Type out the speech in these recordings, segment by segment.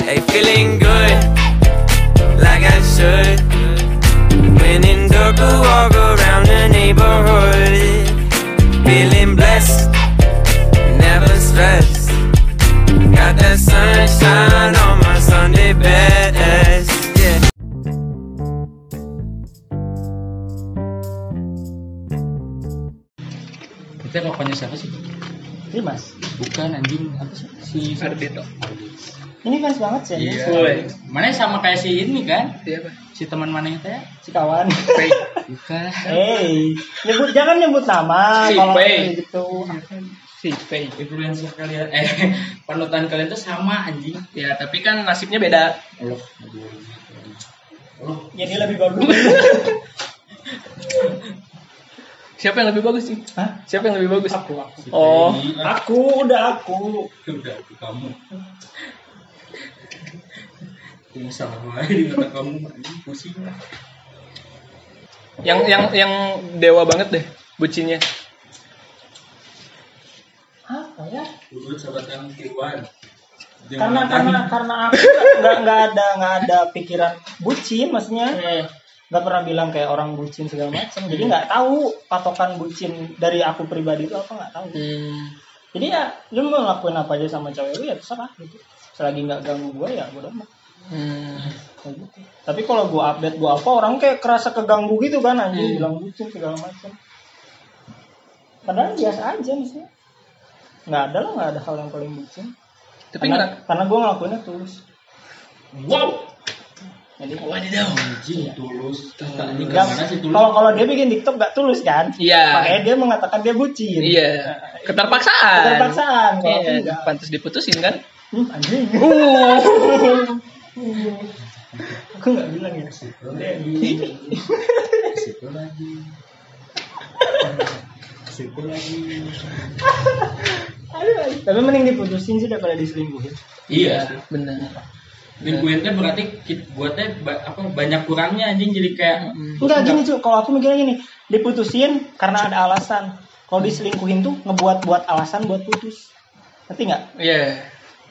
Hey, feeling good, like I should. When in dark, I walk around the neighborhood. Feeling blessed, never stressed. Got that sunshine on my Sunday best. Yeah. Kita rokoknya siapa sih? Ini mas, Bukan anjing apa sih? Si Ardito. ini fans banget sih. Mas. Iya. Mana sama kayak si ini kan? Siapa? Si teman mana itu ya? Si kawan. Bukan. Hey, nyebut jangan nyebut nama Si kalau Pei. kayak gitu. Si Pei. Influencer kalian eh panutan kalian tuh sama anjing. Ya, tapi kan nasibnya beda. Allah. Jadi Ya, lebih bagus. Siapa yang lebih bagus sih? Hah? Siapa yang lebih bagus? Aku, aku. Oh, Aku udah aku. Udah aku kamu. Ini sama di mata kamu anjing pusing. yang yang yang dewa banget deh bucinnya. Apa ya? Dulu sahabat kamu Iwan. Karena karena karena aku nggak nggak ada nggak ada pikiran bucin maksudnya nggak pernah bilang kayak orang bucin segala macam jadi nggak tahu patokan bucin dari aku pribadi itu apa nggak tahu Eh, jadi ya lu mau lakuin apa aja sama cewek lu ya terserah gitu selagi nggak ganggu gue ya gue doang eh, kayak gitu. Tapi kalau gue update gue apa orang kayak kerasa keganggu gitu kan anjing Hmm. bilang bucin segala macam. Padahal biasa aja misalnya. Nggak ada lah nggak ada hal yang paling bucin. Tapi karena, nggak- karena gue ngelakuinnya tulus. Wow. Jadi Wadidaw anjing tulus. Kata Iya. ini Yang- kemana sih tulus? kalau kalau dia bikin TikTok nggak tulus kan? Iya. Makanya dia mengatakan dia bucin. Iya. Keterpaksaan. Keterpaksaan, kalau Iya, Uh. enggak. pantas diputusin kan? Hmm, anjing. Aku nggak bilang ya. situ lagi situ lagi Aduh, aduh. Tapi mending diputusin sih daripada diselingkuhin. iya Benar. lingkuin kan berarti kit- buatnya ba- apa banyak kurangnya anjing jadi kayak Hmm. Enggak gini cuy, kalau aku mikirnya gini, diputusin karena ada alasan. Kalau diselingkuhin tuh ngebuat-buat alasan buat putus. Ngerti nggak? Iya.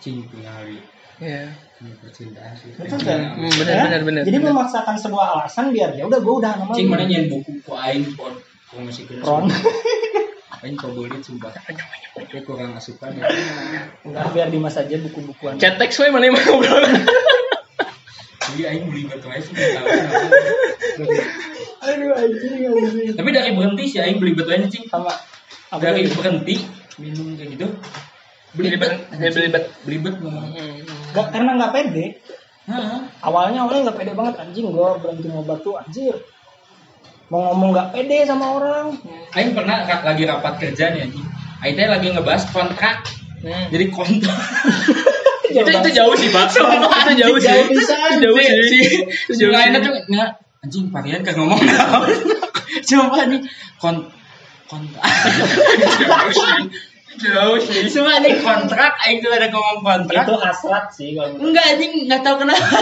cing pengaruh Iya. ini percintaan sih Betul kan? Hmm, benar, Ya? benar, benar, Jadi benar. memaksakan sebuah alasan biar ya udah gue udah sama cing lu. mana nyen buku ku aing pon ku masih kena Ron. aing kau boleh sumpah Tapi kurang asupan ya Enggak, biar Dimas aja buku-bukuan. Chat teks we mana yang mau ngobrol. jadi aing beli batu aja sih Aduh anjing ya anjing. tapi dari berhenti sih aing beli batu aja cing Sama apa dari lagi? gitu. berhenti minum kayak gitu Belibet, ya, belibet. belibet ngomong Iya. Nggak- karena nggak pede. Hah? Awalnya awalnya nggak pede banget anjing gue berhenti ngobat tuh anjir. Mau ngomong nggak pede sama orang. Aing pernah ra- lagi rapat kerja nih anjing. Aing teh lagi ngebahas kontrak. Hmm. Jadi kontrak. Itu itu jauh sih, Pak. Itu jauh sih. Jauh pisan. Itu Jauh sih. Itu Terus Jauh juga Aina sih. tuh nggak anjing varian kan ngomong naon. Coba nih kon kontrak. Jauh sih. Jauh sih. Cuma nih kontrak aing tuh ada ngomong kontrak. Itu hasrat sih kalau menurut- Enggak anjing enggak tahu kenapa.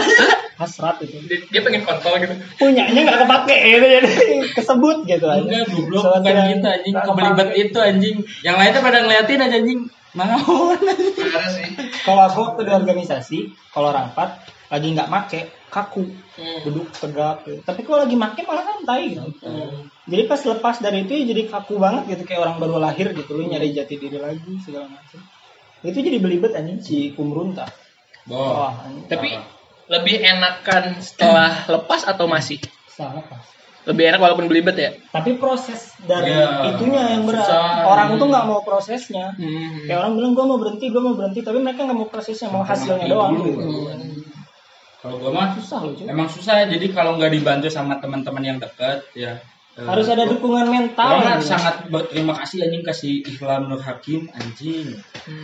hasrat itu. Dia dia pengen kontol gitu. Punyanya nggak kepake itu jadi kesebut gitu aja. Enggak goblok Soalnya Iya, bukan gitu anjing nggak kebelibet kepake. itu anjing. Yang lain tuh pada ngeliatin aja anjing. Naon anjing. Parah sih. Kalau aku waktu di organisasi, kalau rapat lagi nggak make kaku, Hmm. duduk tegak. Gitu. Tapi kalau lagi make malah santai gitu. Hmm. Jadi pas lepas dari itu ya jadi kaku banget gitu kayak orang baru lahir gitu lu nyari jati diri lagi segala macam. Itu jadi belibet anjing si kumrunta. Boh. Wah, anjing. Tapi lebih enakan setelah lepas atau masih? salah pas. Lebih enak walaupun belibet ya? Tapi proses dari Iya, itunya yang berat. susah. Orang tuh nggak mau prosesnya. Hmm. Kayak orang bilang gue mau berhenti, gue mau berhenti, tapi mereka nggak mau prosesnya, mau hasilnya doang. Dulu, gitu. Hmm. anjing. Kalau gua mah Susah loh cuy. Emang susah jadi kalau nggak dibantu sama teman-teman yang dekat ya. eh, Harus ada dukungan gua mental. mah Iya, gitu. sangat berterima kasih anjing kasih Ihlam Nur Hakim anjing.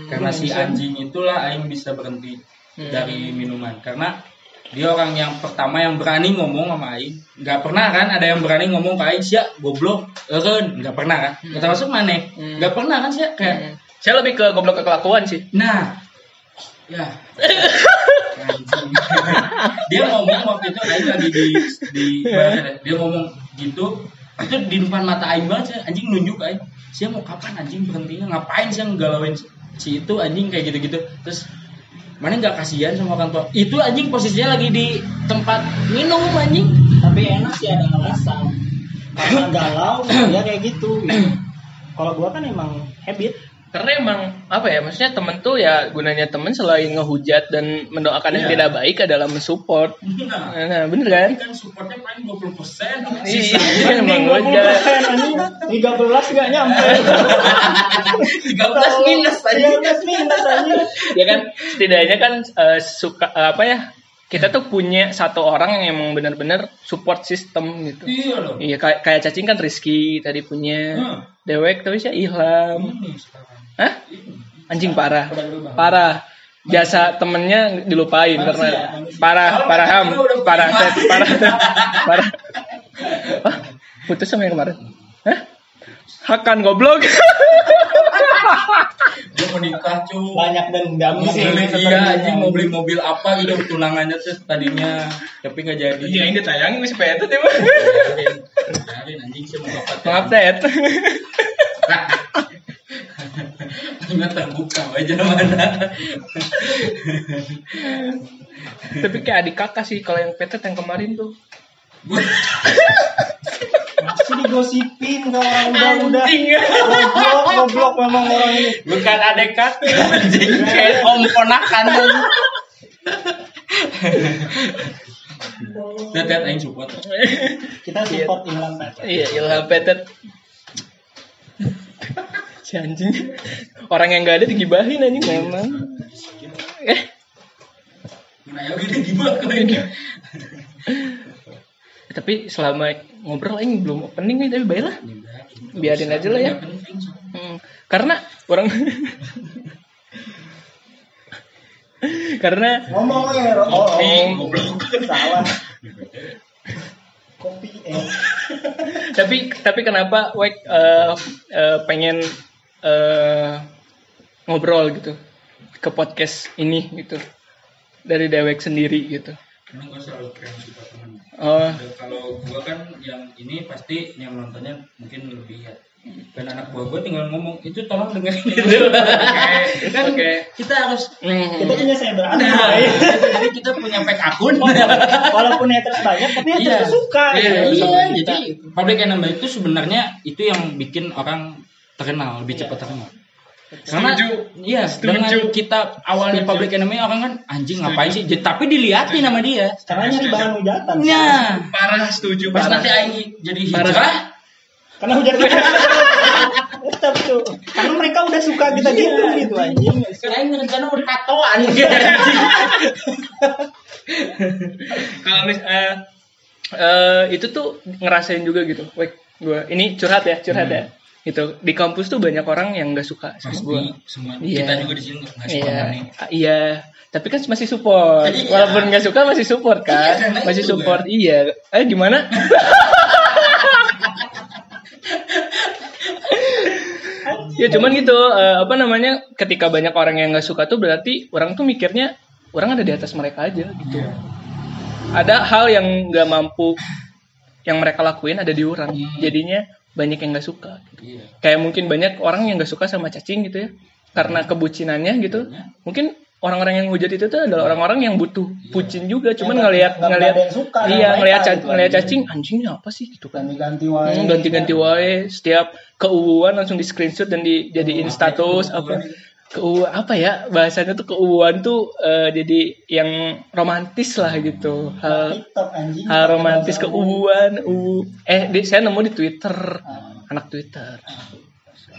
Karena si Indonesia. anjing itulah aing bisa berhenti Iya, Hmm. dari minuman karena dia orang yang pertama yang berani ngomong sama aing. Nggak pernah kan ada yang berani ngomong ke aing, "Sia, goblok, eureun." Nggak pernah kan? Nggak termasuk maneh. Hmm. Nggak pernah kan sih kayak Hmm. Saya lebih ke goblok ke kelakuan sih. Nah, ya. Anjing. dia ngomong waktu itu Aing lagi di di Ya. bar, dia ngomong gitu itu di depan mata Aing banget saya anjing nunjuk Aing saya mau kapan anjing berhentinya ngapain saya ngegalauin si itu anjing kayak gitu-gitu terus mana nggak kasihan sama kantor itu anjing posisinya lagi di tempat minum anjing tapi enak sih ada alasan karena galau ya kayak gitu kalau gua kan emang habit karena emang apa ya maksudnya temen tuh ya gunanya temen selain ngehujat dan mendoakan yang Iya. tidak baik adalah mensupport nah nah bener kan ini kan supportnya paling 20% Iya, sisanya emang ngehujat 13 nggak nyampe 13 minus tadi Iya, 13 minus aja ya kan setidaknya kan eh, suka apa ya kita tuh punya satu orang yang emang bener-bener support system gitu iya loh Iya kayak, kayak cacing kan Rizky tadi punya Hmm. Dewek tapi sih Ilham Ini sekarang. Hah? Anjing parah Udah berubah. Parah Jasa temennya dilupain Manusia, karena manusia. Parah, Kalau parah ham manusia udah Parah, berubah. set, parah, set, parah Hah? Putus sama yang kemarin Hah? Hakan goblok dia mau nikah cuy banyak dendam mau sih beli iya anjing mau beli mobil apa gitu tunangannya terus tadinya tapi nggak jadi ini Iya, ditayangin masih petet ya Kemarin anjing sih mau dapat Maaf Ted Ini terbuka aja mana Tapi kayak adik kakak sih kalau yang petet yang kemarin tuh sih digosipin ke orang udah udah Anjing. goblok goblok memang orang ini Bukan adik kakak anjing Kayak om ponakan Udah Ted aing support kita support Ilham Petet Iya, Ilham Petet. si anjing. Orang yang gak ada digibahin anjing memang. Eh, Nah ya udah gimana kau ini Eh, tapi selama ngobrol aing belum opening nih tapi baiklah. Biarin aja lah ya. Nggak penting, so. Hmm, karena orang karena ngomong ya Ro. oh, Kopi, oh. goblok. salah kopi eh tapi tapi kenapa Wek eh, eh, pengen eh, ngobrol gitu ke podcast ini gitu dari Dewek sendiri gitu. Karena gue selalu keren support teman Oh, Kalau gua kan yang ini pasti yang nontonnya mungkin lebih ya dan anak buah gue tinggal ngomong itu tolong dengerin dulu kan Oke. kita harus Hmm. kita punya saya Nah, berani jadi kita punya fake akun. walaupun haters banyak tapi haters tuh Iya, suka Iya, iya, gitu, sama kita. jadi public enemy itu sebenarnya itu yang bikin orang terkenal lebih cepat terkenal. Karena iya dengan kita awalnya public enemy orang kan anjing ngapain sih? Jadi- Tapi diliatin sama dia. karena nyari bahan hujatan Nah, parah setuju pas nanti parah. Aing jadi Parah. hijrah, karena hujatan tetap tuh karena mereka udah suka kita gitu gitu anjing kan Aing rencana mau tatoan. Kalau mis eh, eh, itu tuh ngerasain juga gitu. Wek, gua ini curhat ya, curhat ya. Hmm. Gitu. Di kampus tuh banyak orang yang nggak suka sama Pasti gua. semua Iya. kita juga di sini nggak suka Iya. sama ini. Ah, Iya. Tapi kan masih support. Iya. Walaupun nggak suka masih support kan. Iya, karena masih itu, support. Iya. Eh gimana? ya cuman gitu eh, apa namanya ketika banyak orang yang nggak suka tuh berarti orang tuh mikirnya orang ada di atas mereka aja gitu ada hal yang nggak mampu yang mereka lakuin ada di orang Hmm. jadinya banyak yang nggak suka Iya. kayak mungkin banyak orang yang nggak suka sama cacing gitu ya karena kebucinannya gitu mungkin orang-orang yang hujat itu tuh adalah orang-orang yang butuh pucin juga cuman Yang ngelihat nggak- ngelihat nggak ada yang suka sama iya mereka ngelihat ca- gitu ngelihat aja. iya. cacing anjingnya apa sih gitu kan ganti ganti wae Hmm, ganti-ganti wae setiap keuuan langsung di screenshot dan Oh, dijadiin iya. status apa apa keu apa ya bahasanya tuh keuuan tuh eh, jadi yang romantis lah gitu hal TikTok anjing hal Ah, romantis keuuan uu eh di, saya nemu di Twitter Ah. anak Twitter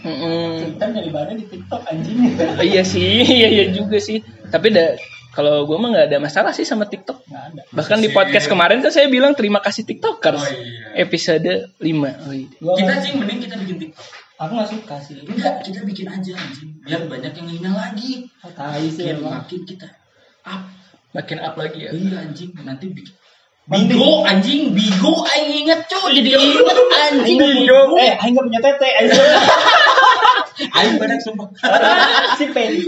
Mm-mm. Kita dari bahannya Kan di TikTok anjing Iya sih, iya iya juga sih. Tapi da, kalau gue mah nggak ada masalah sih sama TikTok. nggak ada Bahkan Iya di Sih. podcast kemarin kan saya bilang terima kasih Oh, TikTokers. iya. Episode 5. Oh, iya. Gua Kita nggak- sih mending kita bikin TikTok. aku nggak suka sih Enggak, kita bikin aja anjing. Biar banyak yang ngehina lagi. Oh, tai Iya. sih Biar emang makin kita up. Makin up lagi ya. Iya anjing, nanti bikin Nanti- Bigo anjing, Bigo aing inget cuy, jadi inget anjing Bigo. eh aing nggak punya tete anjing Aing banyak sumpah. si Penny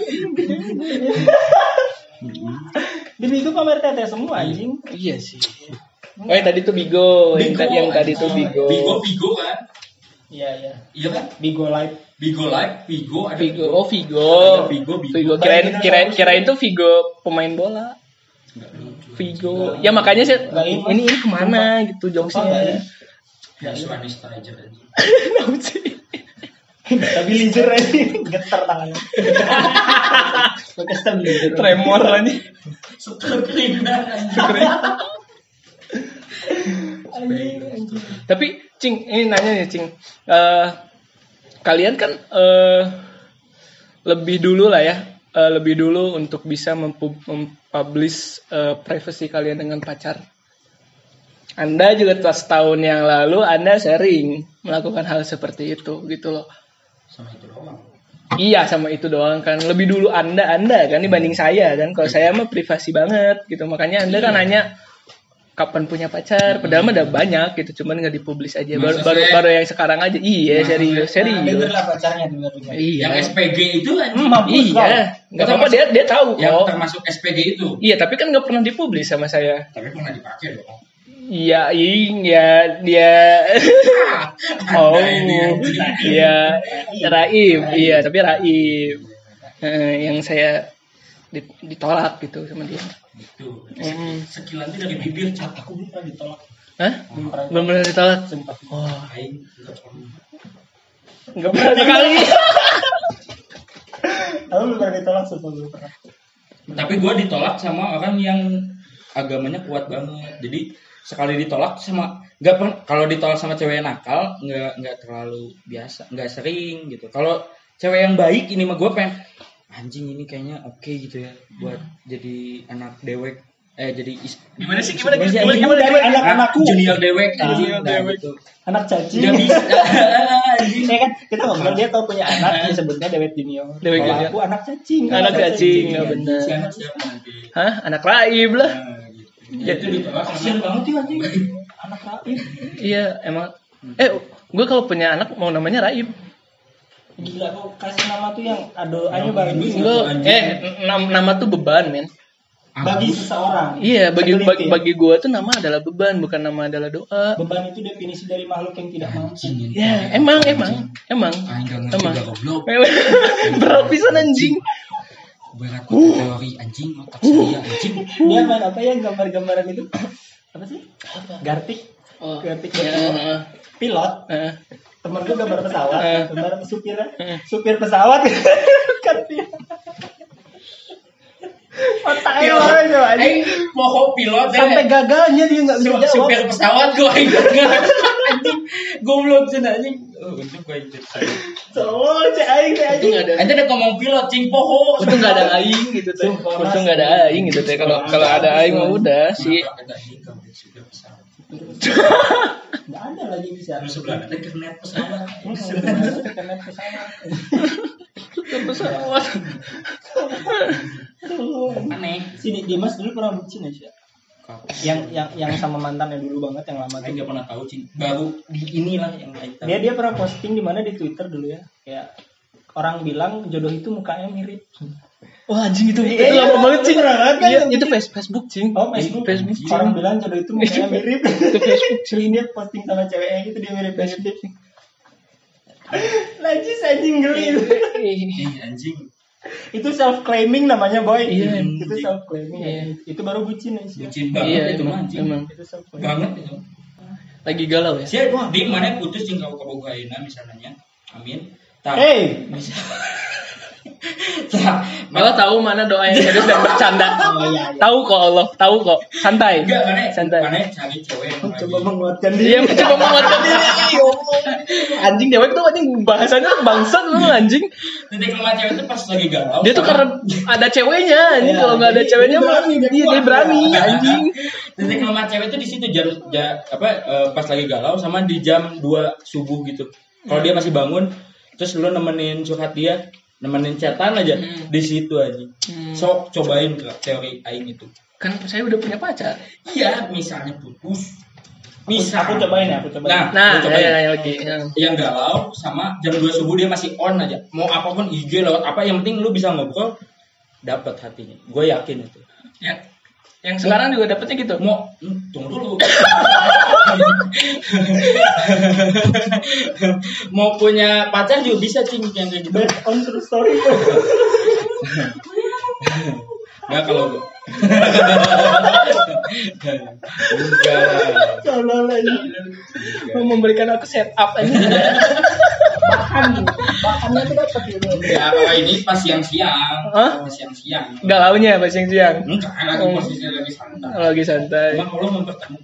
di Bigo pamer tete semua anjing Iya sih. Oh, yang tadi tuh Bigo, yang, Bigo, tadi yang tadi tuh Bigo. Bigo Bigo kan. Iya iya. Iya kan? Bigo Live. Bigo Live, Vigo, ada Vigo, oh Vigo. Ada Vigo, Vigo. Vigo. Kirain kirain kirain tuh Vigo pemain bola. Nggak lucu. Vigo. Ya makanya sih Nggak ini. ini ini kemana Sumpah, gitu nggak jokesnya. ini. Ya, Spanish Tiger aja. Kenapa sih? Stabilizer aja getar tangannya. Nah, Pakai stabilizer. Tremor lagi. Super keringat Iya. anjing. Tapi Cing, ini nanya nih Cing. Eh, kalian kan eh, lebih dulu lah ya, eh, lebih dulu untuk bisa mempu- mempublish eh, privacy kalian dengan pacar. Anda juga telah setahun yang lalu Anda sering melakukan hal seperti itu gitu loh. Sama itu doang. Iya sama itu doang kan lebih dulu anda anda kan dibanding saya kan kalau saya mah privasi banget gitu makanya anda kan nanya kapan punya pacar padahal mah ada banyak gitu cuman nggak dipublis aja baru, Masa baru sih? baru yang sekarang aja iya Masa serius serius Denger lah pacarnya Nah, dengar dengar. iya Yang SPG itu anjing. Hmm, mampus iya kau. nggak apa-apa dia dia tahu Yang kok termasuk SPG itu. iya tapi kan nggak pernah dipublis sama saya Tapi pernah dipakai dong. iya iya dia oh Nah, ini anjing. iya Raib iya tapi Raib Eh, yang saya dit- ditolak gitu sama dia Gitu. Mm. Sekilan itu dari bibir cat aku Aku pernah ditolak. Hah? Belum pernah Belum pernah ditolak? sempat. Wah, aing enggak pernah. nggak pernah sekali. Aku belum pernah ditolak sumpah belum pernah. Tapi gue ditolak sama orang yang agamanya kuat banget. Jadi sekali ditolak sama nggak pern- kalau ditolak sama cewek yang nakal nggak nggak terlalu biasa nggak sering gitu. Kalau cewek yang baik ini mah gue pengen anjing ini kayaknya oke gitu ya buat jadi anak dewek eh jadi is- Gimana sih? Gimana sih, anjing? Gimana dari anak-anakku? junior dewek anjing Junior nah, dewek. gitu. Anak caci. Nggak bisa anjing. Saya kan kita ngomong dia tahu punya anak disebutnya Dewet Junior. Dewek Kalau Junior. aku anak cacing. Anak cacing, Iya, nggak benar. Si anak siapa nanti? Hah? Anak raib lah. Nah, gitu. Ya, itu ditolak sama- Kasian banget ya anjing. Anak raib. Iya, emang. Eh, gue kalau punya anak mau namanya raib. Gila kok kasih nama tuh yang aduh aja bagi Gue, eh, nam- nama tuh beban, men. bagi seseorang. Iya, bagi Sekeliti. bagi, bagi gue tuh nama adalah beban, bukan nama adalah doa. beban itu definisi dari makhluk yang tidak mampu. Anjing ini. Ya, emang, emang, emang. Aing gak ngerti Emang. gak goblok. Emang. Berat pisan anjing. Berat teori anjing otak saya anjing. Dia main apa ya gambar-gambaran itu? Apa sih? Gartik. Oh, Gartik ya, heeh. pilot. Heeh. Temen gue gambar pesawat, Eh. gambar supir, Eh. supir pesawat. kan dia. Iya. Otaknya Pilot. orang itu Eh. anjing. Aing poho Eh, pilot ya. Sampai gagalnya dia nggak bisa Su- jawab. supir pesawat gua aing gak ngerti. anjing. Goblok cenah anjing. Oh, Untung gua inget saya. Cowok cek aing teh Untung anjing. nggak ada. Anjing udah ngomong pilot cing poho. Untung nggak ada aing gitu teh. Sumpah, Untung nggak ada aing gitu teh. Kalau kalau ada aing mah udah sih. Kenapa ada anjing gambar supir pesawat? Nggak ada lagi bisa. Terus sebelah ada kernet pesawat. Internet pesawat. Tuh. Aneh. Sini Dimas dulu pernah bucin ya, aja. Yang yang yang sama mantannya dulu banget yang lama Aing tuh. gak pernah tahu cing. Baru di inilah yang aing tahu. Dia dia pernah posting di mana di Twitter dulu ya. Kayak orang bilang jodoh itu mukanya mirip. Wah anjing itu Iya, itu lama iya, banget cing. itu beneran kan? Iya, itu Face- Facebook cing. Oh Facebook. Facebook. Orang bilang jodoh itu mukanya mirip. Itu Facebook Jadi dia posting sama ceweknya gitu dia mirip mirip. Lagi anjing geli. Ih, anjing. itu self claiming namanya boy. Iya. Itu self claiming. Iya. Itu baru bucin aja. Bucin Iya banget itu mah emang, anjing. emang. Itu self claiming. Banget itu. Lagi galau ya. Sia, di mana putus jeung kau kaboga ayeuna misalnya. Amin. Tah. Hey, Tah. Allah tahu mana doa yang serius dan bercanda. Oh, iya, iya. Tahu kok Allah, tahu kok. Santai. Enggak, mana Santai. mana cari cewek yang coba lagi. menguatkan Iya, dia. mencoba menguatkan diri. Anjing dewek tuh anjing bahasanya bangsat lu anjing. Titik lemah cewek itu pas lagi galau. Dia tuh sama- karena ada ceweknya anjing Iya, kalau nggak ada jadi- ceweknya jadi mah berani, dia iya dia kuat. berani anjing. titik lemah cewek itu di situ jam, ja- apa eh, pas lagi galau sama di jam 2 subuh gitu. Kalau dia masih bangun, terus lu nemenin curhat dia, nemenin chatan aja Hmm. di situ aja. Hmm. So, cobain ke teori aing itu. Kan saya udah punya pacar. Iya, misalnya putus. Misal Bisa aku cobain ya, aku cobain. Nah, Nah, lu cobain. ya, ya, ya, oke. Ya. yang galau sama jam 2 subuh dia masih on aja mau apapun IG lewat apa yang penting lu bisa ngobrol dapat hatinya gue yakin itu Ya. yang sekarang juga dapetnya gitu mau hmm, tunggu dulu mau punya pacar juga bisa cing yang kayak gitu Based on true story. nggak kalau enggak Salah lagi. Mau memberikan aku setup aja Makan. Kan gitu. Makannya tuh dapat gitu. ya kalau ini pas siang-siang Hah? pas siang-siang galaunya pas siang siang enggak lagi posisi lagi santai lagi santai cuma kalau mempertemukan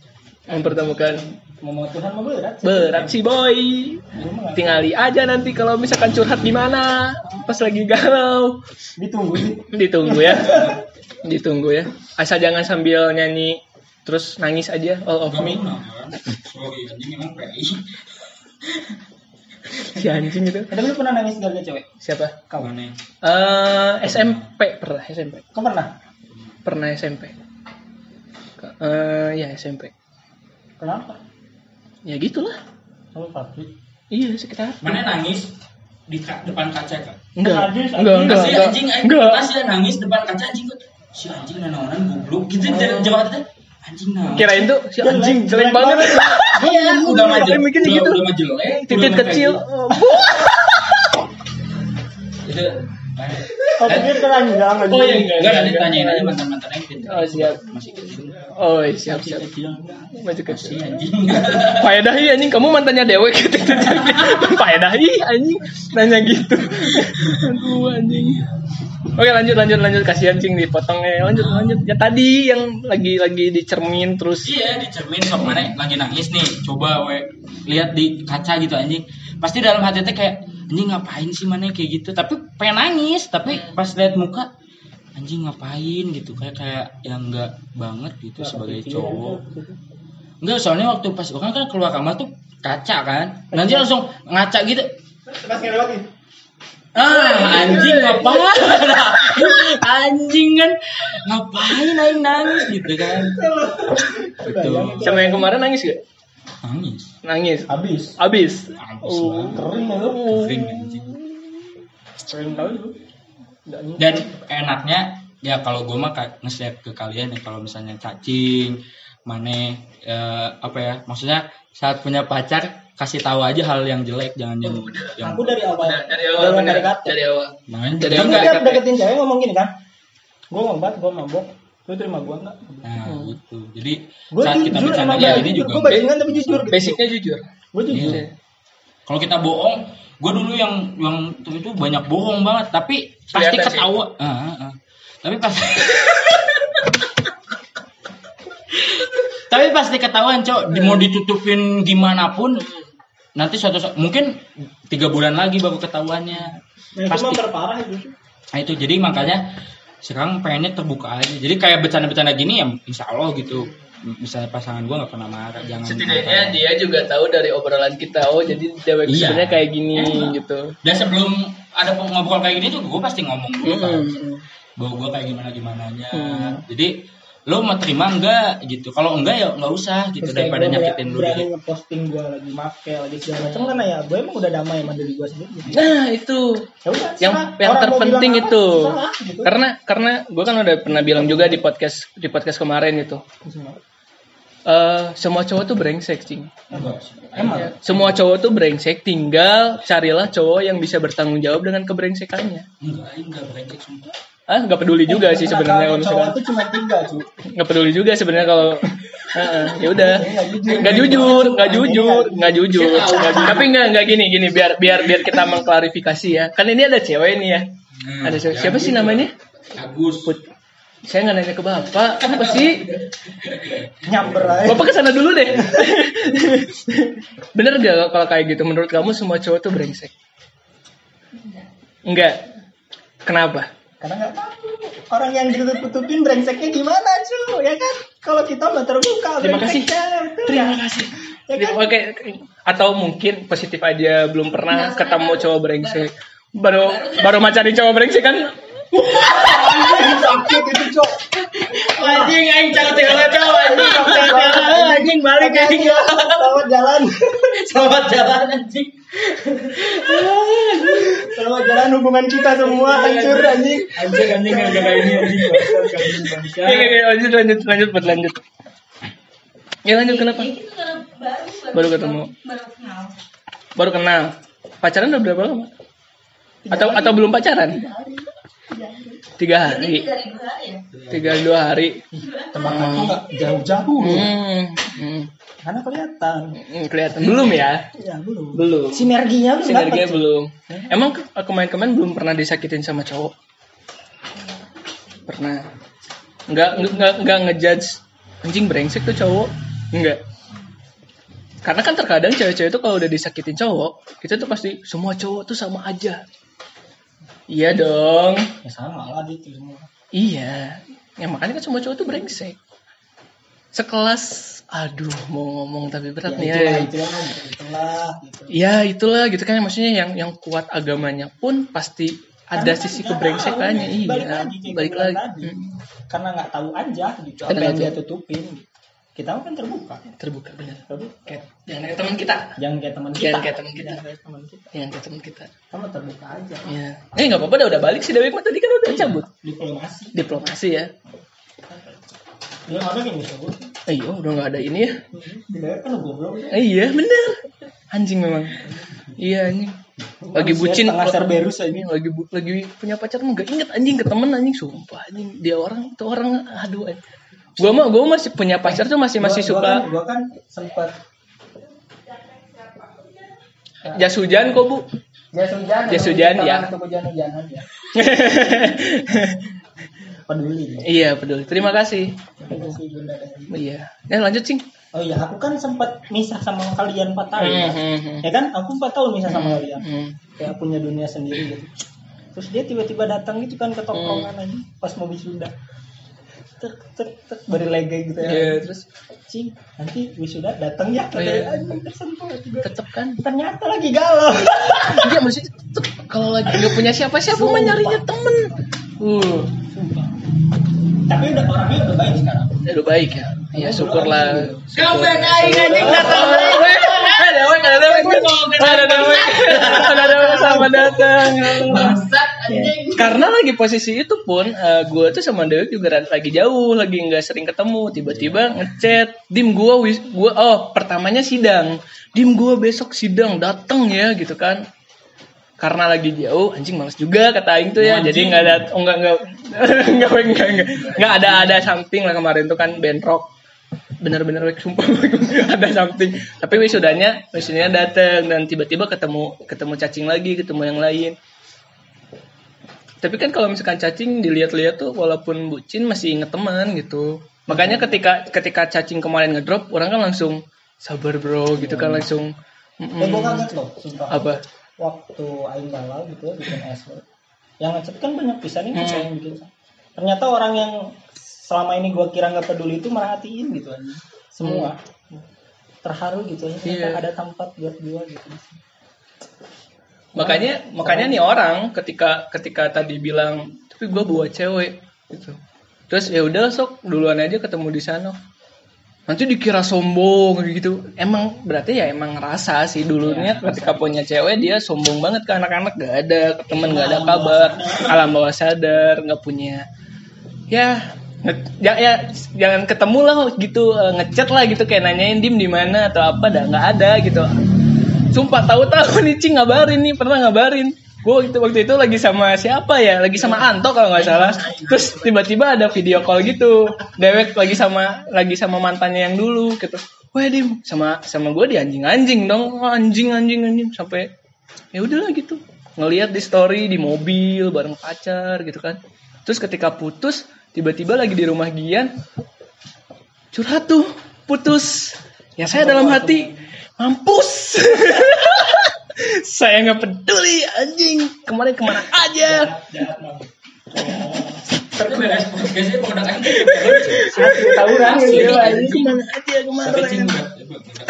mempertemukan Mau Tuhan mau berat. sih. berat sih boy Gua mah nggak- tinggali aja nanti kalau misalkan curhat di mana pas lagi galau Ditungguin. ditunggu ya ditunggu ya asal jangan sambil nyanyi terus nangis aja all of Gak me minum kan? Sorry, anjing emang pay. si anjing itu Ada lu pernah nangis gara-gara cewek? siapa Kau mana? eh SMP pernah SMP Kau pernah? pernah SMP eh ya SMP Kenapa? ya gitulah Lu pasti. iya sekitar Mana nangis di ka- depan kaca kan? enggak Hadis, enggak hadis. enggak Asli enggak anjing, anjing enggak pas dia nangis depan kaca anjing kok si anjing nanonan goblok gitu Oh. dari jawab kita anjing nah. kirain tuh si anjing jelek banget Iya, udah mah Kirain jelek. bikin Udah, gitu udah mah jelek. udah titik mah kecil kayak gitu. Itu mana? Kau pikir kan telanjang lagi. Oh, iya, enggak. Eh, Enggak nanti tanyain aja mantan-mantan yang pintar. Oh, siap. Masih kecil. oh siap siap Kecil enggak? maju Si kecil anjing. Faedahi iya, anjing kamu mantannya dewek gitu jadi Faedahi iya, anjing nanya gitu. Aduh anjing. Oke lanjut lanjut lanjut kasihan cing dipotongnya lanjut lanjut ya tadi yang lagi lagi dicermin terus Iya di cermin sok mana lagi nangis nih coba we lihat di kaca gitu anjing pasti dalam hati teh kayak anjing ngapain sih mana kayak gitu tapi pengen nangis tapi pas lihat muka anjing ngapain gitu kayak kayak yang enggak banget gitu sebagai cowok enggak soalnya waktu pas orang kan keluar kamar tuh kaca kan nanti langsung ngaca gitu Pas ngelewatin. ah anjing ngapain anjing kan ngapain aing nangis gitu kan betul sama yang kemarin nangis gak? nangis Nangis. Habis. Abis. Abis Oh. Kering ya lu. Kering, anjing. Kering kali lu. dan enaknya ya kalau gue mah ka- nge-share ke kalian ya kalau misalnya cacing mane eh, apa ya maksudnya saat punya pacar kasih tahu aja hal yang jelek jangan yang Oh, yang Aku dari Nah, awal. Dari PDKT. dari awal. Nah, jangan- Jadi Tapi enggak- tiap deketin cewek ngomong gini kan. Gua ngobat, gua mabok. Lu terima gua enggak? nah gitu jadi Gue saat kita jujur bercanda emang ya kayak ini gitu. juga Gue bajingan tapi jujur gitu. Basicnya jujur. Gue jujur. Iya. kalau kita bohong gue dulu yang yang itu, itu banyak bohong banget tapi pasti Kelihatan sih. ketawa Ah, ah, ah. tapi pasti tapi pasti ketahuan cok Di- mau ditutupin gimana pun nanti suatu saat- mungkin tiga bulan lagi baru ketahuannya Nah, Pasti. itu mah perparah itu. nah itu jadi makanya sekarang pengennya terbuka aja jadi kayak bercanda-bercanda gini ya insya Allah gitu misalnya pasangan gue nggak pernah marah jangan marah. Setidaknya dia juga tahu dari obrolan kita. Oh jadi dewek Iya. sebenarnya kayak gini Emang. gitu. dan sebelum ada ngobrol kayak gini tuh gue pasti ngomong dulu kan. Mm-mm. bahwa gue kayak gimana gimananya Hmm. jadi lo mau terima enggak gitu kalau enggak ya nggak usah gitu Terus kayak daripada gua nyakitin berani- dulu berani ngeposting gue lagi make lagi segala macam karena ya gue emang udah damai sama diri gue sendiri gitu. Nah itu Ya udah, serah. yang yang Orang mau terpenting bilang apa, itu serah, gitu. karena karena gue kan udah pernah bilang juga di podcast di podcast kemarin gitu. itu eh semua cowok tuh brengsek cing Enggak. emang semua cowok tuh brengsek tinggal carilah cowok yang bisa bertanggung jawab dengan kebrengsekannya enggak eh, enggak brengsek sumpah ah nggak peduli juga sih sebenarnya kalau cowok misalkan itu cuma tiga cuy nggak peduli juga sebenarnya kalau Heeh, ya udah Nggak jujur. nggak jujur nggak jujur nggak jujur Nggak jujur. tapi nggak nggak gini gini biar biar biar kita mengklarifikasi ya kan ini ada cewek nih ya ada cewek. siapa sih namanya Agus saya nggak nanya ke bapak apa sih nyamber aja Bapak kesana dulu deh. Bener gak kalau kayak gitu? Menurut kamu semua cowok tuh brengsek? Enggak. Kenapa? karena nggak tahu orang yang ditutup-tutupin brengseknya gimana cuy ya kan kalau kita udah terbuka Terima kasih. brengseknya, betul Terima nggak? kasih. Ya kan? Oke, atau mungkin positif aja belum pernah ketemu cowok brengsek. Baru baru macari cowok brengsek kan? Anjing, sakit itu cok Anjing, anjing cowok cowok cowok anjing. Anjing balik anjing. selamat jalan Selamat jalan anjing. selamat jalan perasaan hubungan kita semua hancur anjing. Anjing anjing gak ada ini anjing bangsat, anjing bangsat. Oke, oke, oke, lanjut, lanjut, lanjut, Put, lanjut. Ya lanjut kenapa? Ya, gitu, karena baru, Baru ketemu. Baru kenal. Baru kenal. Pacaran udah berapa lama? Atau atau belum pacaran? Baru. Jadi, Tiga Ini hari, dari dua ya. tiga dua hari. ya? Tebak aku nggak jauh-jauh. Hmm, hmm, Karena kelihatan. hmm, kelihatan belum ya? Ya belum. Belum. Sinerginya belum. Sinerginya dapet, Cuk. belum. Emang ke- kemarin-kemarin belum pernah disakitin sama cowok? Pernah. Enggak enggak enggak ngejudge anjing brengsek tuh cowok. Enggak. Karena kan terkadang cewek-cewek itu kalau udah disakitin cowok, itu tuh pasti semua cowok tuh sama aja. Iya dong. Ya sama lah gitu semua. Iya. Ya makanya kan semua cowok tuh brengsek. Sekelas aduh mau ngomong tapi berat nih. Ya, ya. itulah, itulah, itulah, gitu. Ya itulah gitu kan maksudnya yang yang kuat agamanya pun pasti ada Karena kan sisi nggak kebrengsekannya tahu. iya balik lagi, kayak balik gua bilang lagi tadi. Hmm, karena nggak tahu aja gitu apa Karena yang nggak dia tahu. tutupin gitu. kita kan terbuka terbuka benar terbuka kayak jangan kayak teman kita jangan kayak teman kita Jangan kayak teman kita. Jangan kayak teman kita jangan kayak teman kita kamu terbuka aja ya eh nggak apa-apa dah udah balik si Dewi mah tadi kan Iya. udah cabut diplomasi diplomasi ya lu ada yang bisa gue Eh, iya udah nggak ada ini ya dia kan lu goblok Eh, iya bener anjing memang iya anjing lagi bucin tengah kan Cerberus aja Ini lagi bu- lagi punya pacar mah gak inget anjing ke temen anjing sumpah anjing dia orang tuh orang aduh anjing. gua mah gua masih punya pacar tuh masih masih Gua- suka gua kan, gua kan sempat jas hujan kok bu jas hujan Jas hujan, ya. hujan hujanan ya peduli ya. iya peduli terima kasih Terima kasih, Bunda Dewi. iya ya lanjut sing oh iya aku kan sempat misah sama kalian 4 tahun Hmm, ya. hmm, hmm. ya kan aku 4 tahun misah sama kalian Hmm. kayak punya dunia sendiri gitu terus dia tiba-tiba datang gitu kan ke tongkrongan Hmm. aja pas mau wisuda tek tek tek bari lega gitu ya Iya, terus cing nanti wisuda datang ya Iya. katanya anjing tersentuh hati gua. tetep kan ternyata lagi galau dia maksudnya tetep kalau lagi nggak punya siapa siapa mah nyarinya temen uh Sumpah. tapi udah orangnya udah baik sekarang ya udah baik ya ya syukurlah Comeback aing anjing datang. ada wek ada wek ada wek ada wek sama datang Bangsat anjing. karena lagi posisi itu pun gue tuh sama Dewi juga ra- lagi jauh lagi nggak sering ketemu tiba-tiba ngechat dim gue gua oh pertamanya sidang dim gue besok sidang dateng ya gitu kan karena lagi jauh anjing males juga kata Aing tuh ya Anjing. jadi nggak ada oh, nggak nggak nggak wek, nggak nggak nggak ada ada something lah kemarin tuh kan bentrok bener-bener wek sumpah wek, ada something tapi wisudanya wisudanya dateng dan tiba-tiba ketemu ketemu cacing lagi ketemu yang lain tapi kan kalau misalkan cacing dilihat-lihat tuh walaupun bucin masih inget teman gitu. Makanya ketika ketika cacing kemarin ngedrop, orang kan langsung sabar bro gitu kan langsung. eh "Mm-mm." gua kaget loh sumpah Hmm. Apa? waktu aing galau gitu ya bikin eswe yang ngechat kan banyak pisan Hmm. ini saya yang bikin ternyata orang yang selama ini gua kira nggak peduli itu merhatiin gitu aja semua Hmm. terharu gitu aja ternyata Iya. ada tempat buat gua gitu Makanya makanya nih orang ketika ketika tadi bilang tapi gua bawa cewek gitu. Terus ya udah sok duluan aja ketemu di sana. Nanti dikira sombong gitu. Emang berarti ya emang rasa sih dulunya ketika punya cewek dia sombong banget ke anak-anak gak ada, ke temen gak ada kabar, alam bawah sadar nggak punya. Ya nge- ya, ya, jangan ketemu lah gitu eh, ngechat lah gitu kayak nanyain dim di mana atau apa dah nggak ada gitu Sumpah tahu-tahu nih Cing ngabarin nih pernah ngabarin. Gue waktu, waktu itu lagi sama siapa ya? Lagi sama Anto kalau nggak salah. Terus tiba-tiba ada video call gitu. Dewek lagi sama lagi sama mantannya yang dulu gitu. Wah dim sama sama gue di anjing-anjing dong Oh, anjing anjing anjing sampai ya udahlah gitu ngelihat di story di mobil bareng pacar gitu kan. Terus ketika putus tiba-tiba lagi di rumah Gian curhat tuh putus ya saya dalam hati mampus saya nggak peduli anjing kemarin kemana aja Oh. Tapi beres podcastnya produk anjing. tawuran gitu Ya, Iya, Anjing, kemana aja Sampai kemarin cing.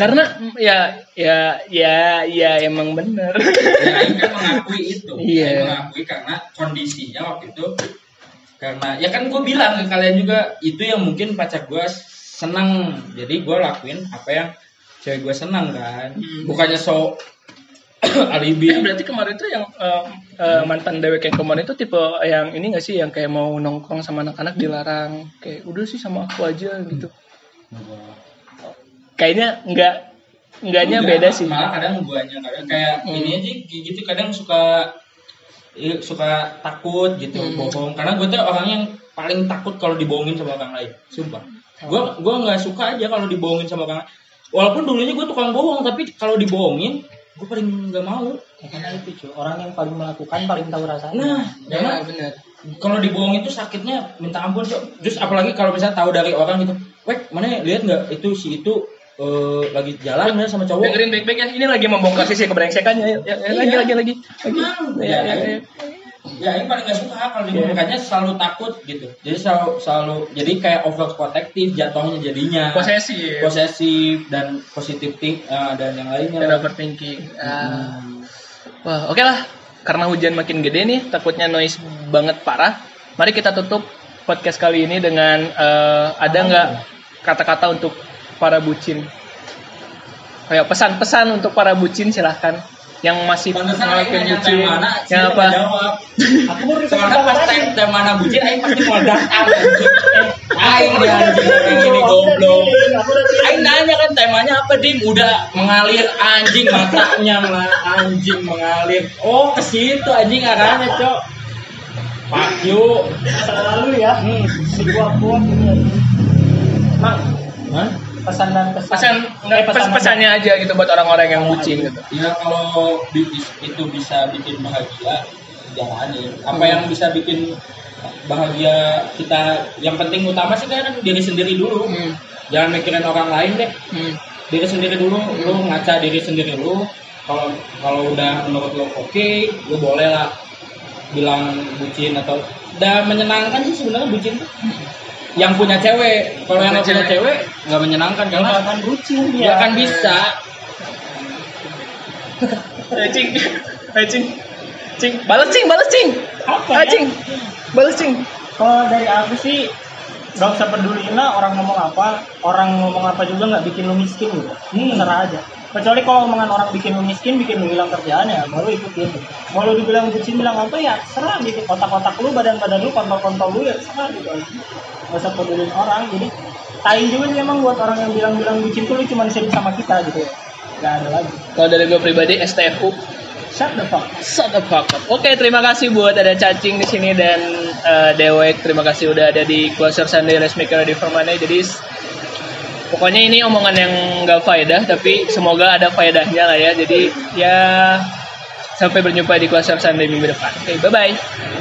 karena mm, ya ya ya ya emang bener Ya, Aing kan mengakui itu. Iya. Aing mengakui karena kondisinya waktu itu karena ya kan gue bilang ke kalian juga itu yang mungkin pacar gue senang jadi gue lakuin apa yang cewek gue senang kan bukannya so alibi Ya, berarti kemarin tuh yang eh, eh, mantan dewek yang kemarin itu tipe yang ini gak sih yang kayak mau nongkrong sama anak-anak dilarang kayak udah sih sama aku aja gitu kayaknya nggak enggaknya Enggak, beda sih Iya, malah kadang guanya kadang kayak Hmm. ini aja gitu kadang suka eh, suka takut gitu Hmm. bohong karena gue tuh orang yang paling takut kalau dibohongin sama orang lain sumpah Oh. gue gue nggak suka aja kalau dibohongin sama orang lain walaupun dulunya gue tukang bohong tapi kalau dibohongin gue paling nggak mau Karena Ya kan itu cuy, orang yang paling melakukan paling tahu rasanya. nah karena ya benar kalau dibohongin tuh sakitnya minta ampun Cok. terus apalagi kalau misalnya tahu dari orang gitu wek mana ya, lihat nggak itu si itu eh, lagi jalan ya sama cowok dengerin baik-baik ya ini lagi membongkar sisi keberengsekannya ya, ya, ya, lagi Iya. lagi lagi lagi Emang. ya, ya, ya. ya ini paling gak suka kalau dibohongin makanya selalu takut gitu jadi selalu selalu jadi kayak overprotective jatuhnya jadinya posesif posesif dan positif think eh, dan yang lainnya dan overthinking Ah. wah oke lah karena hujan makin gede nih takutnya noise banget parah mari kita tutup podcast kali ini dengan eh, ada nggak kata-kata untuk para bucin kayak pesan-pesan untuk para bucin silahkan yang masih Pantesan Aing ngelakuin nanya bucin tema mana, yang Cina apa jawab. Aku mau request Soalnya pas apa lagi? tema mana bucin, Aing pasti mau datang. anjing. Eh, Aing dia anjing kayak Iya, gini Aku udah goblok. feeling, Aku udah feeling. Aing nanya kan temanya apa dim udah mengalir anjing matanya lah anjing mengalir oh ke situ anjing arahnya cok Pak Yu Selalu ya. Hmm. Sebuah kuat ini. Mang, Hah? pesan dan kesan. pesan Eh, pes- pesan- pesannya aja gitu buat orang-orang yang bucin gitu Ya kalau bi- bis- itu bisa bikin bahagia jalanin. Apa yang bisa bikin bahagia kita yang penting utama sih kan diri sendiri dulu. Hmm, Jangan mikirin orang lain deh. hmm. Diri sendiri dulu, lu ngaca diri sendiri lu. Kalau kalau udah menurut lo oke, lu boleh lah bilang bucin atau udah menyenangkan sih sebenarnya bucin tuh. Yang punya cewek, kalau yang nggak punya cewek nggak menyenangkan karena Akan bucin nggak dia. akan bisa Eh, cing, eh, cing, cing, balas cing, balas cing, Apa ya? ah, cing, balas cing. Kalau dari aku sih Gak usah peduliin lah orang ngomong apa Orang ngomong apa juga gak bikin lu miskin gitu Hmm. Terserah aja Kecuali kalau omongan orang bikin lu miskin Bikin lu hilang kerjaan ya baru ikutin Mau lu dibilang bucin bilang apa ya Serah gitu Otak-otak lu, badan-badan lu, kontol-kontol lu ya Serah gitu aja Gak usah peduliin orang Jadi tai juga sih emang buat orang yang bilang-bilang bucin tuh Lu cuma sering sama kita gitu ya Gak ada lagi Kalau dari gue pribadi STFU, Shut the fuck shut the fuck up. Oke, terima kasih buat ada cacing di sini dan eh, Dewek. Terima kasih udah ada di Closer Sunday Resmaker di Formane. Jadi s- pokoknya ini omongan yang nggak faedah, tapi semoga ada faedahnya lah ya. Jadi ya sampai berjumpa di Closer Sunday minggu depan. Oke, bye bye.